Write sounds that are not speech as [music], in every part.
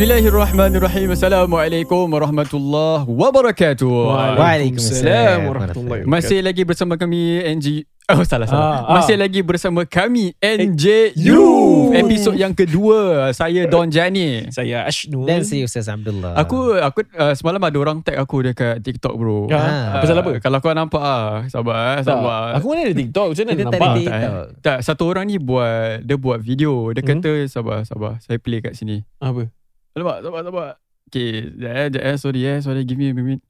Bismillahirrahmanirrahim. Assalamualaikum warahmatullahi wabarakatuh. Waalaikumsalam warahmatullahi wabarakatuh. Masih lagi bersama kami NG Oh salah salah. Ah, Eh, Masih lagi bersama kami NJU episod yang kedua. Saya Don Jani. saya Ashnul. Dan saya Ustaz Abdullah Aku aku uh, semalam ada orang tag aku dekat TikTok bro. Ah, Ha, pasal apa? Kalau kau nampak ah, sabar eh, Tak. sabar. Aku mana ada TikTok? Macam mana Kita tak nampak? ada tak, eh. TikTok. tak satu orang ni buat dia buat video. Dia Mhm. kata sabar sabar saya play kat sini. Apa? Alamak, sabar, sabar. Okay, sekejap eh, sekejap eh. Sorry eh, sorry. Give me a minute.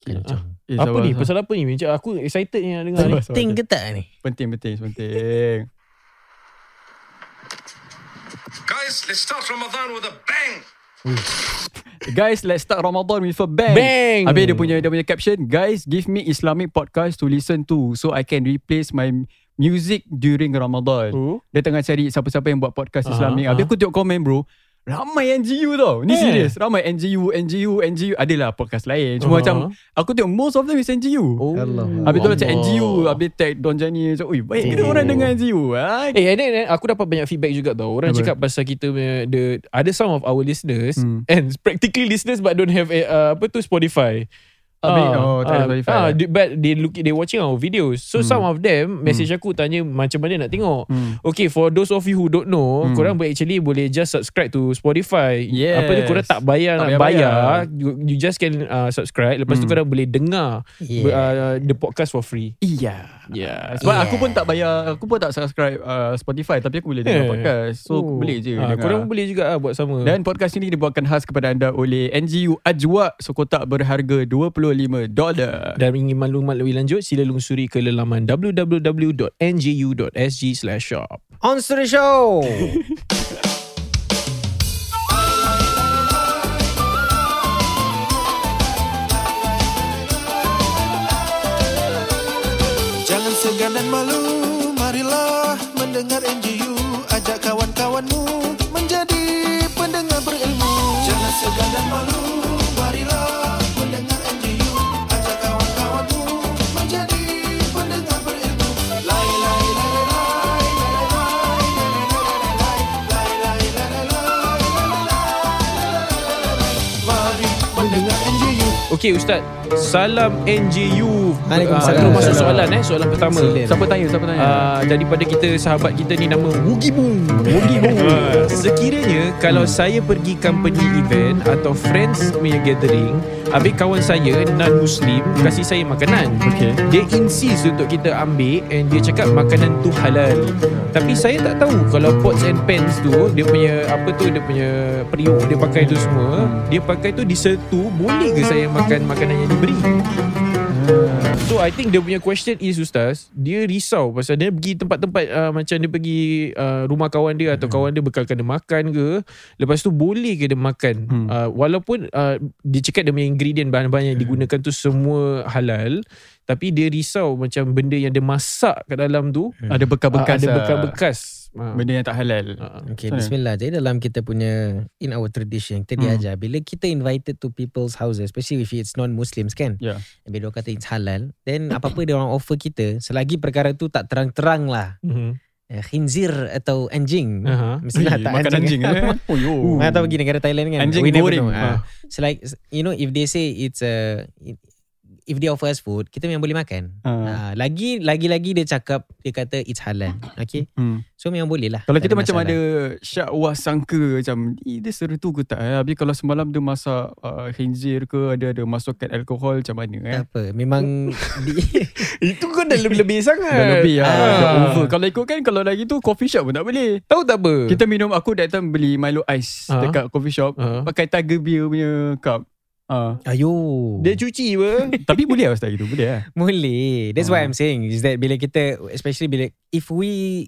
Okay. Ah, Eh, Apa sabar, ni? sabar. Pasal apa ni? Macam aku excited ni nak dengar ni. Penting ke tak ni? Penting, penting, Eh, penting. Guys, let's start Ramadan with a bang. Guys, let's start Ramadan with a bang. Bang! Habis dia punya, dia punya caption. Guys, give me Islamic podcast to listen to so I can replace my music during Ramadan. Oh. Dia tengah cari siapa-siapa yang buat podcast Ah, Islamic. Habis ah. aku tengok komen bro. Ramai NGU tau. Ni Eh. serius. Ramai NGU, NGU, NGU. Adalah podcast lain. Cuma Ah. macam aku tengok most of them is NGU. Oh. Allah. Habis tu Allah. macam NGU Habis tag Don Jani Macam Ui baik kena Oh. orang dengar NGU ha? Eh, and then aku dapat banyak feedback juga tau. Orang Apa? cakap pasal kita punya the ada some of our listeners Hmm. and practically listeners but don't have a, uh, apa tu Spotify. Habis, Ah, oh, tak ada ah, Spotify. ah, they- but they look they watching our videos. So some of them message aku tanya macam mana nak tengok. Hmm. Okay for those of you who don't know Hmm. Korang boleh actually Boleh just subscribe to Spotify Yes. Apa ni korang tak bayar Tak Nak payah bayar, bayar. You, you just can uh, subscribe Lepas tu Hmm. korang boleh dengar Yeah. uh, The podcast for free Iya Yeah Sebab Yeah. aku pun tak bayar Aku pun tak subscribe uh, Spotify Tapi aku boleh dengar Yeah. podcast So aku boleh je Ah, dengar Korang pun boleh juga lah Buat sama dan podcast ini dibawakan khas kepada anda oleh NGU Ajwa Sekotak berharga $25 dan ingin maklumat lebih lanjut sila lungsuri ke lelaman www.ngu.sg shop On to the [laughs] show Jangan segan dan malu, marilah mendengar NGU Ajak kawan-kawanmu menjadi pendengar berilmu Jangan segan dan malu, marilah mendengar NGU Ajak kawan-kawanmu menjadi pendengar berilmu Lai, lai, lai, lai, lai, lai, lai, lai, lai, lai, lai, lai, lai, lai, lai, lai, lai, lai, lai, lai, lai, lai, lai, lai, lai, lai, lai. Mari mendengar NGU Okey Ustaz Salam NGU Waalaikumsalam. Ah, Terus masuk soalan eh Soalan pertama Sila. Siapa tanya? Siapa tanya? Ah, daripada kita sahabat kita ni nama Woogie Boom. Woogie Boom. Sekiranya kalau saya pergi company event atau friends punya gathering, habis kawan saya non muslim kasih saya makanan. Okey. Dia insist untuk kita ambil and dia cakap makanan tu halal. Tapi saya tak tahu kalau pots and pans tu dia punya apa tu dia punya periuk dia pakai tu semua, dia pakai tu disertu boleh ke saya makan makanan yang diberi? So I think dia punya question is Ustaz Dia risau pasal dia pergi tempat-tempat uh, Macam dia pergi uh, rumah kawan dia Atau kawan dia bekalkan dia makan ke Lepas tu boleh ke dia makan Hmm. uh, Walaupun uh, dia cakap dia punya ingredient Bahan-bahan yang digunakan tu semua halal Tapi dia risau macam benda yang dia masak kat dalam tu ada uh, bekas-bekas Ada ah. bekas-bekas Ah. Benda yang tak halal Ah. Okay Sana. Bismillah Jadi dalam kita punya In our tradition Kita Hmm. diajar Bila kita invited to people's houses Especially if it's non-Muslims kan Yeah. Habis dia kata it's halal Then apa-apa dia orang offer kita Selagi perkara tu tak terang-terang lah Mhm. Eh, Khinzir atau anjing Aha. Eh, Mestilah tak Makan anjing, [laughs] eh? Oh yo Uh. Atau pergi negara Thailand kan Anjing We never goreng. know. Ah. Ah. So like You know if they say It's a If they offer us food Kita memang boleh makan Ah. Ah, Lagi Lagi-lagi dia cakap Dia kata it's halal Okay Hmm. So memang boleh lah Kalau Tak kita macam masalah. ada syakwa sangka macam eh, dia sertu ke tak eh? Habis kalau semalam dia masak uh, khinzir ke ada ada masukkan alkohol macam mana eh? Tak apa [laughs] Memang di, Itu kau dah lebih-lebih sangat [laughs] Dah lebih lah. Ah. Dah over. Kalau ikut kan kalau lagi tu coffee shop pun tak boleh. Tahu tak apa Kita minum aku that time beli Milo ice Ah. dekat coffee shop Ah. pakai Tiger Beer punya cup. [laughs] Ah, Ayo Dia cuci apa tapi boleh lah ustaz gitu, boleh lah. Boleh That's Ah. what I'm saying Is that bila kita Especially bila If we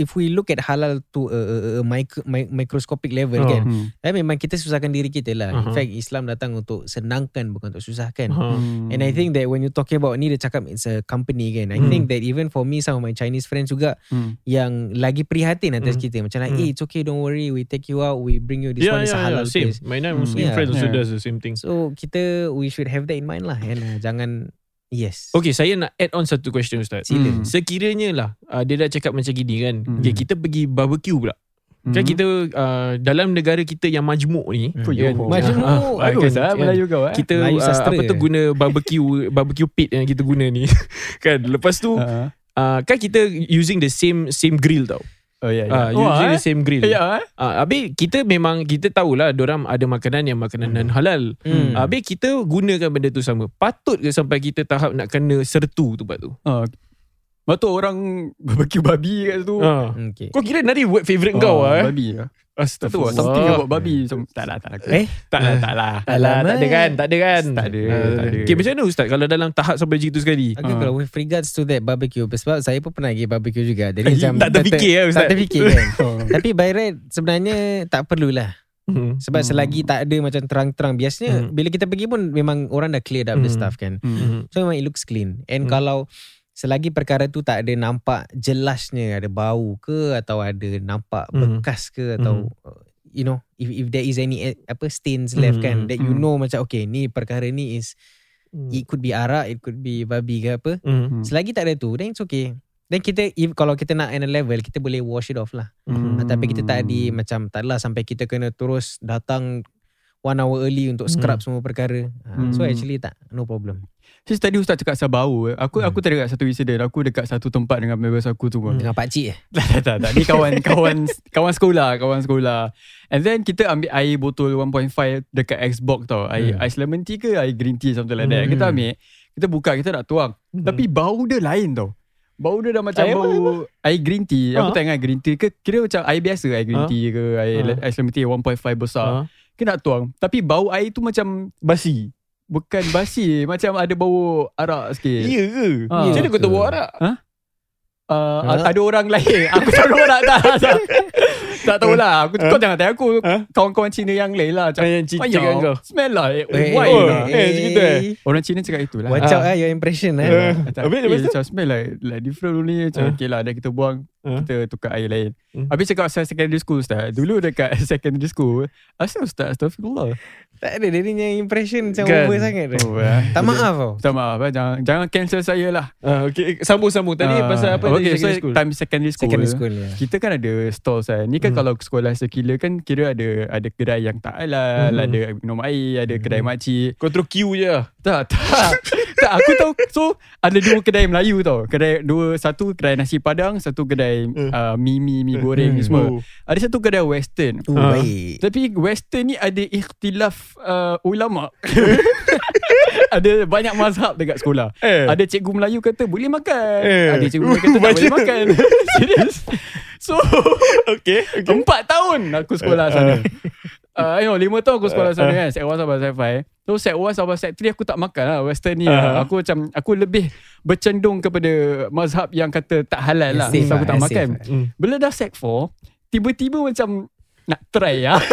If we look at halal to a, a, a- a micro, mi, microscopic level Ah. kan Hmm. eh, Memang kita susahkan diri kita lah In Aha. fact Islam datang untuk senangkan Bukan untuk susahkan Ah. And I think that when you talking about ni dia cakap it's a company kan. I Hmm. think that even for me some of my Chinese friends juga Hmm. yang lagi prihatin atas Hmm. kita macam like Hmm. eh it's okay don't worry we take you out we bring you this Yeah, one is yeah, a halal yeah, Ya, same. place. My Hmm. non-Muslim Yeah. friends also Yeah. does the same thing. So kita we should have that in mind lah and uh, jangan yes. Okay, saya nak add on satu question Ustaz. Sila. Hmm. Sekiranya lah uh, dia dah ah, cakap macam gini kan. Hmm. Okay, kita pergi barbecue pula. Mhm. Kan kita uh, dalam negara kita yang majmuk ni. Hmm. Apa you kan, apa? [laughs] Majmuk, ah, Bagus ah, lah kan, kan, Hmm. Melayu kau eh. Kita Melayu uh, sastera. apa tu guna [laughs] barbecue barbecue pit yang kita guna ni. [laughs] kan lepas tu Ah. uh, kan kita using the same same grill tau. Oh ya ya. Ah, Wah, using eh. the same grill. Ya eh. Ah, habis kita memang kita tahulah orang ada makanan yang makanan non halal. Hmm. Ah, habis kita gunakan benda tu sama. Patut ke sampai kita tahap nak kena sertu tu pak tu? Ah. Patut orang barbecue babi kat situ. Ah. Okay. Kau kira nari word favorite kau Ah, ah. Eh? Babi lah. Tak tahu Astagfirullah. lah. Something about babi. Macam, tak lah, tak lah. Eh? Tak lah, tak lah. Tak lah, tak ada mate. kan? Tak ada kan? Tak ada, Ah, tak ada. Okay, macam mana Ustaz kalau dalam tahap sampai gitu sekali? Okay, Ah. kalau with regards to that barbecue Sebab saya pun pernah pergi barbecue juga Jadi Eh, macam tak terfikir lah, Ustaz. Tak terfikir kan Oh. Tapi by right Sebenarnya tak perlulah Hmm. Sebab selagi tak ada macam terang-terang Biasanya Hmm. bila kita pergi pun Memang orang dah clear up the Hmm. stuff kan Hmm. Hmm. So memang it looks clean And Hmm. kalau Selagi perkara tu tak ada nampak jelasnya Ada bau ke Atau ada nampak Hmm. bekas ke Atau uh, You know if, if there is any eh, apa stains left Hmm. kan That you Hmm. know macam Okay ni perkara ni is It could be arak It could be babi ke apa Hmm. Hmm. Selagi tak ada tu Then it's okay Then kita if, Kalau kita nak another level Kita boleh wash it off lah Hmm. hmm. Tapi kita tak di Macam tak adalah Sampai kita kena terus Datang One hour early Untuk scrub semua perkara hmm. So Hmm. actually tak No problem Sis tadi Ustaz cakap pasal bau eh. Aku Hmm. aku tadi dekat satu insiden. Aku dekat satu tempat dengan members aku tu pun. Dengan pakcik eh Hmm. [laughs] tak, tak, tak, tak. Ni [laughs] kawan kawan kawan sekolah, kawan sekolah. And then kita ambil air botol 1.5 dekat Xbox tau. Air Hmm. ice lemon tea ke air green tea something like that. Hmm. Kita ambil, kita buka, kita nak tuang. Tapi bau dia lain tau. Bau dia dah macam Air apa, bau Hmm. air green tea. Aku Ha. tak ingat green tea ke kira macam air biasa, air green Ha. tea ke air Ha. ice lemon tea 1.5 besar. Ah. Kita nak tuang. Tapi bau air tu macam Basi. bukan basi, [laughs] macam ada bau arak sikit. Ya ke? Ha. Macam mana kau tahu buat arak? Uh, Ha? Ada orang lain Aku tak tahu lah Tak, [laughs] tak, tak tahu lah aku, Kau jangan tanya aku Ha? Kawan-kawan Cina yang lain lah Macam Yang cicak "Ayah, kan kau. Smell lah eh, Eh, Why oh, lah eh, macam gitu, eh? Orang Cina cakap itulah Watch out lah Your impression Eh. eh Macam, Habis, eh, lepas tu? macam smell lah like, Different dulu ni Macam Ha. okay lah Dah kita buang Ha. Kita tukar air lain Hmm. Habis cakap pasal secondary school Ustaz Dulu dekat [laughs] secondary school Asal Ustaz Astagfirullah Tak ada Dia punya impression Macam Kan. over sangat Oh, eh. Tak maaf tau Minta maaf eh. jangan, jangan cancel saya lah Ah, okay, sambung-sambung. Tadi Ah, pasal apa okay, tadi secondary so school? Time secondary school Secondary school ya. kita kan ada stalls kan. Ni kan Hmm. kalau sekolah sekila kan kira ada ada kedai yang tak halal, Hmm. ada minum air, ada kedai makcik. Kau terus queue je lah. Tak, tak. [laughs] tak, aku tahu. So, ada dua kedai Melayu tau. Kedai dua, satu kedai nasi padang, satu kedai Hmm. uh, mi mi mi goreng ni semua. Oh. Ada satu kedai western. Oh, Ah. baik Tapi western ni ada ikhtilaf uh, ulama. [laughs] ada banyak mazhab dekat sekolah. Eh. Ada cikgu Melayu kata boleh makan. Eh. Ada cikgu Melayu kata tak boleh Baca. makan. [laughs] Serius. [laughs] So, Okay. okay. Empat tahun aku sekolah Eh, sana. Uh, you know, lima tahun aku sekolah sana kan. Set 1 sampai set 5. So set 1 sampai set 3 aku tak makan lah western ni. Ah. Lah. Aku macam, aku lebih bercendung kepada mazhab yang kata tak halal lah. Safe So aku lah, tak safe makan. lah. Hmm. Bila dah set 4, tiba-tiba macam nak try [laughs] lah.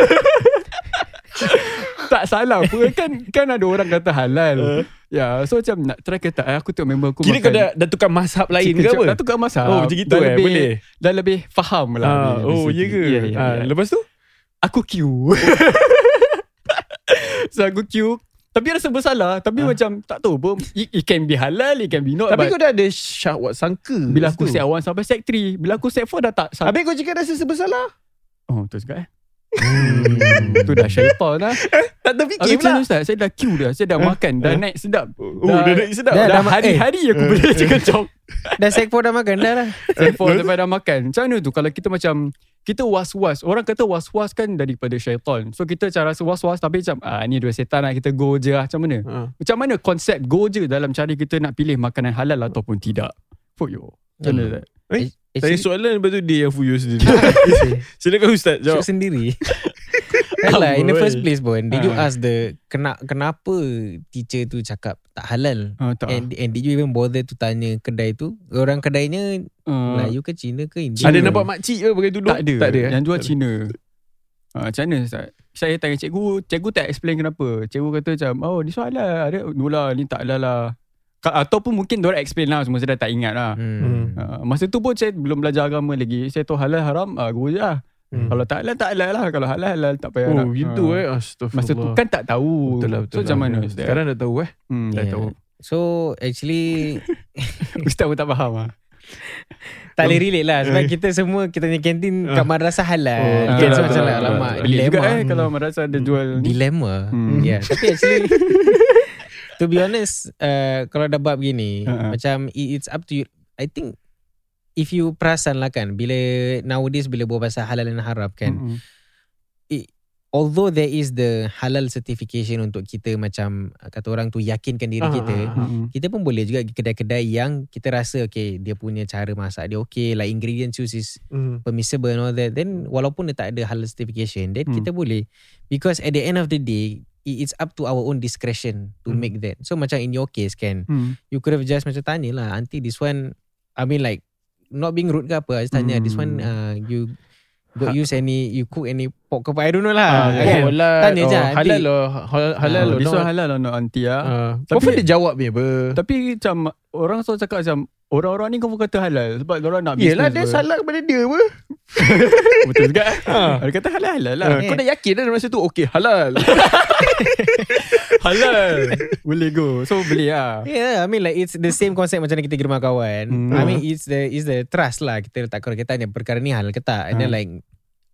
tak salah pun kan kan ada orang kata halal. Ya, so macam nak try ke tak eh, aku tengok member aku Eh. Kira makan. kau dah, dah tukar mazhab lain ke apa? Dah tukar masa. Oh, macam gitu dah eh, lebih, boleh? Dah lebih faham lah. Ah, ni, oh, basically. ya ke? Ya, ya, Ah, ya. Lepas tu? Aku [laughs] queue So aku queue Tapi rasa bersalah Tapi Ah. macam Tak tahu pun it, it can be halal It can be not Tapi Tapi kau dah ada syahwat sangka. Bila aku set siap. 1 sampai set 3 Bila aku set 4 dah tak sangka. Habis kau cakap rasa bersalah. Oh betul juga eh hmm. Tu dah syaitan lah Tak terfikir Habis macam pula. mana Ustaz Saya dah queue dah Saya dah makan Dah naik sedap Oh, dah Eh. naik sedap. Dah, Dah- dah ma- hari-hari aku boleh [laughs] cekecok Dah sec 4 dah makan dah lah Set 4 sampai dah makan Macam mana tu Kalau kita macam Kita was-was Orang kata was-was kan Daripada syaitan So kita macam rasa was-was Tapi macam ah, Ni dua setan lah Kita go je lah Macam mana Ah. Macam mana konsep go je dalam cara kita nak pilih makanan halal ataupun tidak? For you. Macam mana Hmm. Zat? Tanya soalan lepas tu dia yang fuyu [laughs] sendiri. Actually, [laughs] Silakan Ustaz Shoot jawab. sendiri Alah, in the Amboi. first place pun Did you Ah. ask the kena, Kenapa teacher tu cakap Tak halal Ah, tak. And, and did you even bother to tanya kedai tu Orang kedainya Ah, Melayu ke Cina ke India Ada ke? nampak makcik ke pakai tudung? tak ada. Tak ada. eh? Yang jual Tak ada. Cina. Ah, macam mana Ustaz? Saya tanya cikgu, cikgu tak explain kenapa. Cikgu kata macam, oh ni soal lah. Ada, no lah, ni tak halal lah. Ka- Ataupun mungkin diorang explain lah. Semua saya dah tak ingat lah. Hmm. hmm. Ah, masa tu pun saya belum belajar agama lagi. Saya tahu halal haram, ah, go je lah. Hmm. Kalau tak halal, tak halal lah. Kalau halal, halal tak payah Oh, nak. gitu Ah. eh. Astagfirullah. Masa tu kan tak tahu. Betul lah, betul so macam lah. mana Ya. Ustaz? [laughs] Sekarang dah tahu eh. hmm, dah Yeah. tahu. So actually Ustaz pun tak faham lah. Tak boleh relate lah Sebab kita semua Kita punya kantin Kat madrasah halal Oh, betul oh, Kan so lah, macam betul lah lah, Alamak Pelik Ah, juga Dilema eh kalau merasa ada jual ni. Dilema Hmm. yeah. Tapi actually [laughs] To be honest uh, Kalau dah bab gini Ha-ha. Macam it- It's up to you I think If you perasan lah kan Bila Nowadays bila buat pasal halal dan haram kan Mm-mm. although there is the halal certification untuk kita macam uh, kata orang tu yakinkan diri Ah, kita ah, Mm-mm. kita pun boleh juga pergi kedai-kedai yang kita rasa okay dia punya cara masak dia okay like ingredient choose is Hmm. permissible and all that then walaupun dia tak ada halal certification then Hmm. kita boleh because at the end of the day i- it's up to our own discretion to Hmm. make that so macam in your case kan Mm. you could have just macam tanya lah auntie this one I mean like not being rude ke apa I just tanya this one Hmm. uh, you Ha. got use any you cook any pork ke apa [laughs] I don't know Ah, lah yeah. kan? Oh, lah. Tanya oh, je, Halal aunty. lah. Halal, halal Ah, lah. This no. one halal or not auntie ah. Ah. Tapi- Confirm dia jawab je apa. Tapi macam orang selalu cakap macam orang-orang ni confirm kata halal sebab orang nak business. Yelah dia apa. salah kepada dia apa. Betul juga. eh. Dia kata halal halal lah. Ah, Kau dah yakin dah masa tu okay halal. halal. [laughs] Boleh go. So beli lah. Yeah, I mean like it's the same concept macam kita pergi rumah kawan. Hmm. I mean it's the it's the trust lah kita letak korang kita tanya perkara ni halal ke tak. And then Hmm. like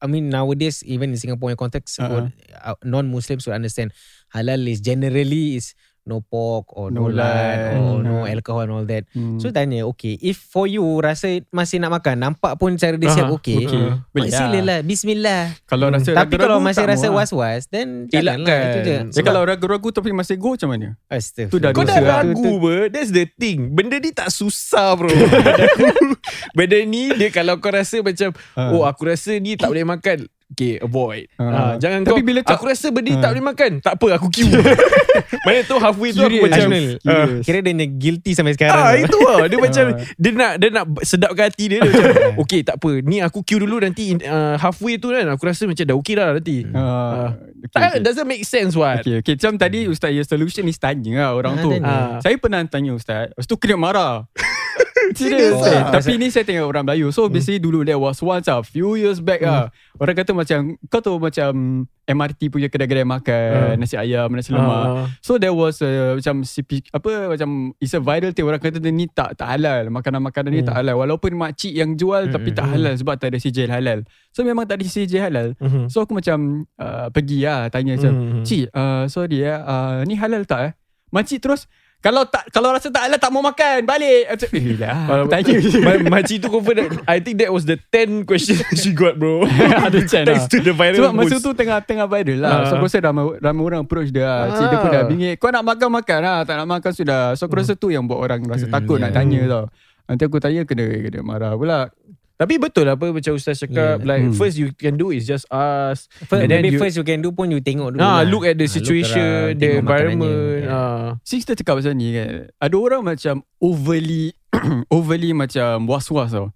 I mean nowadays even in Singapore punya context Uh-uh. uh non-Muslims would understand halal is generally is no pork or no, No lard lard. or no Hmm. alcohol and all that. Hmm. So tanya okay if for you rasa masih nak makan nampak pun cara dia siap Aha, okay. Uh-huh. okay. Boleh lah. Silalah bismillah. kalau rasa Tapi ragu-ragu, kalau tak masih mau rasa lah. was-was then janganlah Elakkan. itu je. Dia kalau ragu-ragu tapi masih go macam mana? Astaghfirullah. Tu dah Kau Dosa dah lah. ragu apa That's the thing Benda ni tak susah bro [laughs] Benda ni Dia kalau kau rasa macam Ah. Oh aku rasa ni tak boleh makan Okay avoid Ah. Ah, Jangan Tapi kau bila cak- Aku rasa benda ni Ah. tak boleh makan Tak apa aku [laughs] queue Mana tu halfway tu aku Curious. macam Ajmal, ah. Kira dia punya guilty sampai sekarang. Ah tau. itu lah Dia macam Ah. Dia nak Dia nak sedapkan hati dia, dia macam, [laughs] Ha. Okay tak apa Ni aku queue dulu nanti uh, Halfway tu kan Aku rasa macam dah okay dah nanti Ah, Ah. okay, Tak okay. doesn't make sense what Okay, okay. Macam tadi Hmm. Ustaz your solution is tanya lah orang Ah, tu. tanya. Ah. Saya pernah tanya Ustaz. Lepas tu kena [laughs] marah. Serius Serious eh. lah? ah. Tapi ni saya tengok orang Melayu Hmm. So basically dulu There was once a Few years back ah Orang kata macam Kau tahu macam MRT punya kedai-kedai makan Nasi ayam Nasi lemak Hmm. Ah. So there was a, Macam CP, Apa Macam It's a viral thing Orang kata dia ni tak tak halal Makanan-makanan ni Hmm. tak halal Walaupun makcik yang jual Tapi tak halal Sebab tak ada sijil halal So memang tak ada sijil halal Mhm. So aku macam uh, Pergi lah Tanya macam Mhm. Cik uh, sorry ya uh, Ni halal tak eh Makcik terus Kalau tak kalau rasa tak halal Tak mau makan Balik Macam Eh lah Kalau- Tanya [laughs] je Ma- Makcik tu confirm that, I think that was the 10 question [laughs] she got [laughs] bro Ada chance lah Thanks to the viral sebab masa post. tu tengah-tengah viral lah So Ah. aku rasa ramai, ramai orang approach dia lah Cik dia pun dah Ah. bingit Kau nak makan makan lah Tak nak makan sudah So aku rasa tu yang buat orang Rasa takut nak tanya tau Nanti aku tanya kena, kena marah pula Tapi betul lah apa Macam Ustaz cakap Yeah. Like Hmm. first you can do Is just ask First, And then maybe you- first you can do pun you tengok dulu. Ah, lah. Look at the Ah, situation around, The tengok environment makanannya. ah. Sister cakap pasal ni kan Ada orang macam Overly [coughs] Overly macam Was-was tau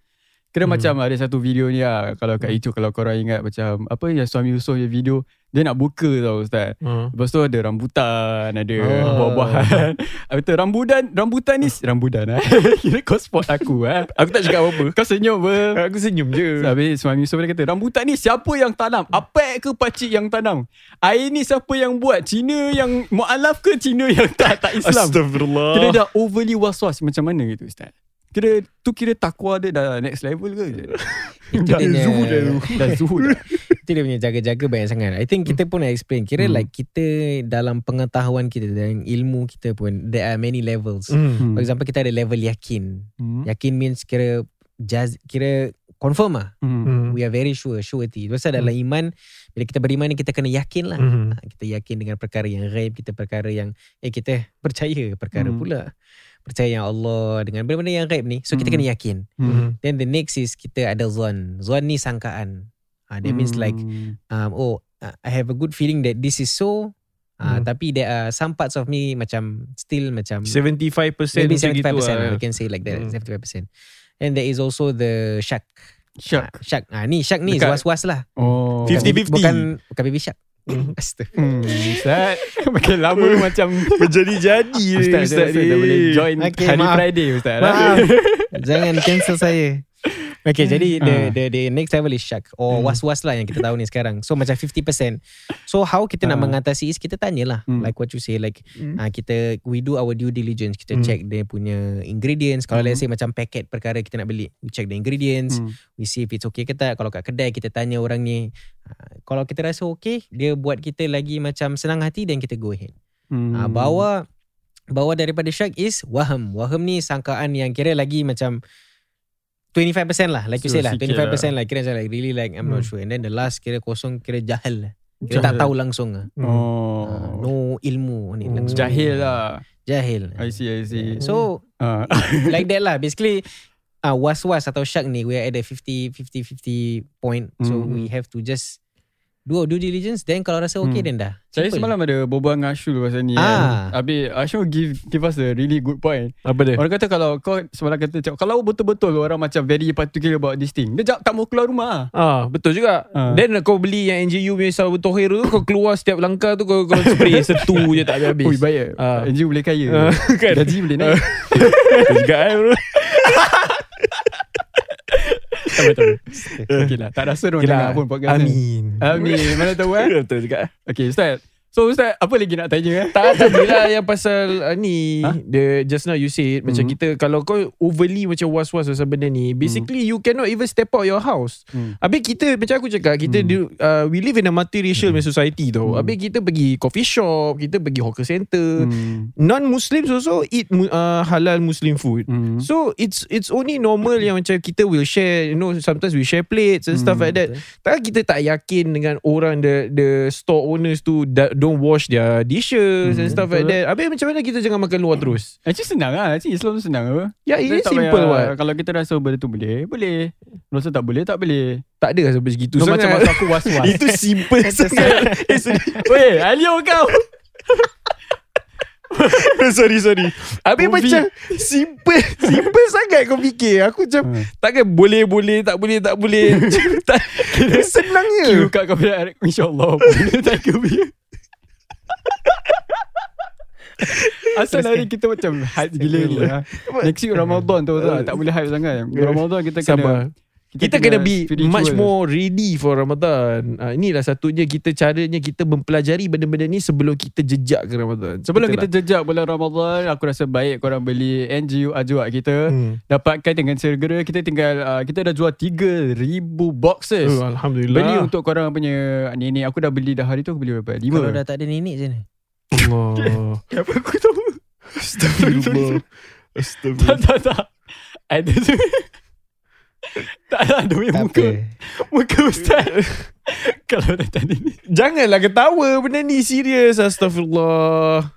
Kira Hmm. hmm. macam ada satu video ni lah Kalau kat YouTube Kalau korang ingat macam Apa yang suami Yusof punya video Dia nak buka tau Ustaz Ah. Lepas tu ada rambutan Ada Oh. buah-buahan [laughs] Habis tu rambutan Rambutan ni Rambutan eh [laughs] Kira kau spot aku eh Aku tak cakap apa-apa [laughs] Kau senyum ber Aku senyum So, je Habis Suami Yusof dia kata Rambutan ni siapa yang tanam Apek ke pakcik yang tanam Air ni siapa yang buat Cina yang Mu'alaf ke Cina yang tak tak Islam Astagfirullah Kira dah overly was-was Macam mana gitu Ustaz Kira tu kira takwa dia dah next level ke Itu dia punya- [laughs] Dah zuhud dah. Itu dia punya jaga-jaga banyak sangat. I think kita pun nak explain. Kira Hmm. like kita dalam pengetahuan kita dan ilmu kita pun there are many levels. Hmm. For example kita ada level yakin. Hmm. Yakin means kira jaz, kira confirm lah. Hmm. Hmm. We are very sure, surety. Sebab dalam iman bila kita beriman ni kita kena yakin lah. Hmm. Ha, kita yakin dengan perkara yang ghaib, kita perkara yang eh kita percaya perkara Hmm. pula. Percaya yang Allah dengan benda-benda yang ghaib ni. So kita Hmm. kena yakin. Hmm. Then the next is kita ada zon. Zon ni sangkaan. Ha, that Hmm. means like Hmm. um, oh uh, I have a good feeling that this is so. Uh, Hmm. Tapi there are some parts of me macam still macam 75% maybe macam gitu 75% lah. lah. We can say like that Hmm. 75%. And there is also the shark. [laughs] Syak Ah, shark. Ah ni shark ni is Dekat- was-was lah. Oh 50. Bukan bukan baby shark. [laughs] Astaga. Hmm, [laughs] Ustaz Makin lama macam Berjadi-jadi ni, Ustaz, saya rasa ni. dah boleh join Okay, Hari maaf. Friday Ustaz Maaf. Jangan cancel saya. Okay, jadi the, Ah. the the next level is syak or Hmm. was-was lah yang kita tahu ni sekarang. So macam 50%. So how kita nak Ah. mengatasi is kita tanyalah Hmm. like what you say like Hmm. ah, kita we do our due diligence, kita Hmm. check dia punya ingredients. Kalau let's say macam paket perkara kita nak beli, we check the ingredients, Hmm. we see if it's okay ke tak. Kalau kat kedai kita tanya orang ni, Ah, kalau kita rasa okay, dia buat kita lagi macam senang hati then kita go ahead. Hmm. Ah, bawa bawa daripada syak is waham. Waham ni sangkaan yang kira lagi macam 25% lah like you So, say lah sikit lah. 25% lah. kira macam like really like I'm not Hmm. sure and then the last kira kosong kira jahal lah kira tak Jahil. tahu langsung lah Oh. Ah, no ilmu ni Hmm. langsung Jahil lah. jahil I see, I see. so Ah. like that lah basically ah was-was atau syak ni we are at the 50 50 50 point so Hmm. we have to just do our due diligence then kalau rasa okay Hmm. then dah Saya Simple. semalam ada berbual dengan Ashul pasal ni Ah. kan. Habis Ashul give, give us a really good point. Apa dia? Orang kata kalau kau semalam kata cakap, kalau betul-betul orang macam very particular about this thing, dia tak, tak mau keluar rumah lah. Ah, betul juga. Ah. Then kau beli yang NGU punya Salbu Tohir tu kau keluar setiap langkah tu kau, kau spray setu je tak habis-habis. Ui baik. Ah. Uh. NGO boleh kaya. Ah, [laughs] kan? Gaji boleh naik. Betul juga eh bro. tak betul. Okey lah. Tak rasa orang Okey lah. dengar pun podcast ni. Amin. Amin. Mana tahu eh. Betul juga. Okey Ustaz. So Ustaz, apa lagi nak tanya eh? Tak tadi lah yang pasal uh, ni Ha? the just now you said macam Hmm. kita kalau kau overly macam was-was pasal benda ni basically you cannot even step out your house. Hmm. Habis kita macam aku cakap Hmm. kita do, uh, we live in a multiracial punya society tau. Hmm. Habis kita pergi coffee shop, kita pergi hawker center. Non-Muslims also eat mu- uh, halal Muslim food. Hmm. So it's it's only normal yang macam kita will share you know sometimes we share plates and stuff Hmm, like that. Tak kita tak yakin dengan orang the the store owners tu da- don't wash their dishes and Hmm, stuff like that. Habis macam mana kita jangan makan luar terus? Actually senang lah. Actually Islam tu senang apa. Ya yeah, Dia it is tak simple payah- what. Kalau kita rasa benda tu boleh, boleh. Rasa tak boleh, tak boleh. Tak ada sampai segitu Tu sangat. macam masa aku was-was. [laughs] itu [laughs] simple [laughs] sangat. eh, sorry. Weh, Alio kau. sorry sorry. Habis Movie. macam simple [laughs] simple sangat kau fikir. Aku macam Hmm. takkan boleh boleh tak boleh tak [laughs] boleh. tak, [laughs] senangnya. Cue kat kau punya [laughs] InsyaAllah Tak kau punya Asal hari kita macam hype gila ni lah. Next week Ramadan tu tak, tak boleh hype sangat. Ramadan kita kena Sabar. kita, kena, be spiritual. much more ready for Ramadan. Uh, inilah satunya kita caranya kita mempelajari benda-benda ni sebelum kita jejak ke Ramadan. Sebelum kita jejak bulan Ramadan, aku rasa baik korang beli NGU Ajwa kita. Hmm. Dapatkan dengan segera. Kita tinggal, uh, kita dah jual 3,000 boxes. Oh, Alhamdulillah. Beli untuk korang punya nenek. Aku dah beli dah hari tu, aku beli berapa? kalau dah 5. tak ada nenek je ni [laughs] Allah. [laughs] Kenapa aku tahu? Astagfirullah. Tak, Astagfirullah. tak, tak. Ada tu. [laughs] tak ada ada punya muka. Muka ustaz. Kalau dah tadi ni. Janganlah ketawa benda ni serius. [laughs] Astagfirullah.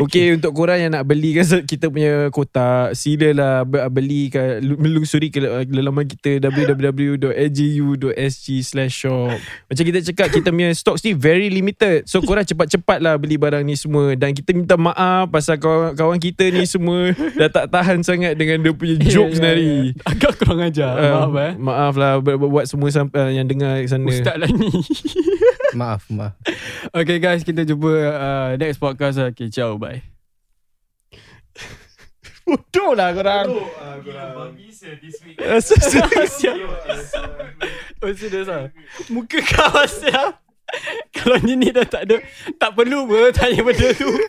Okay untuk korang yang nak beli kan [laughs] kita punya kotak silalah be- beli ke, melusuri ke uh, laman kita [laughs] www.agu.sg shop macam kita cakap kita punya stocks ni very limited so korang cepat-cepat lah beli barang ni semua dan kita minta maaf pasal kawan, kawan kita ni [laughs] semua dah tak tahan sangat dengan dia punya jokes yeah, hari Agak kurang ajar. Ya, Uh, Maaf eh. maaf lah buat, buat semua sam- uh, yang dengar kat sana Ustaz lah [laughs] ni. maaf maaf okay guys, kita jumpa uh, next podcast. lah. Okay, ciao. Bye. Bodoh lah korang. [laughs] [laughs] Oh, serius lah. [laughs] Muka kau siap. Kalau ni ni dah tak ada. Tak perlu pun tanya benda tu.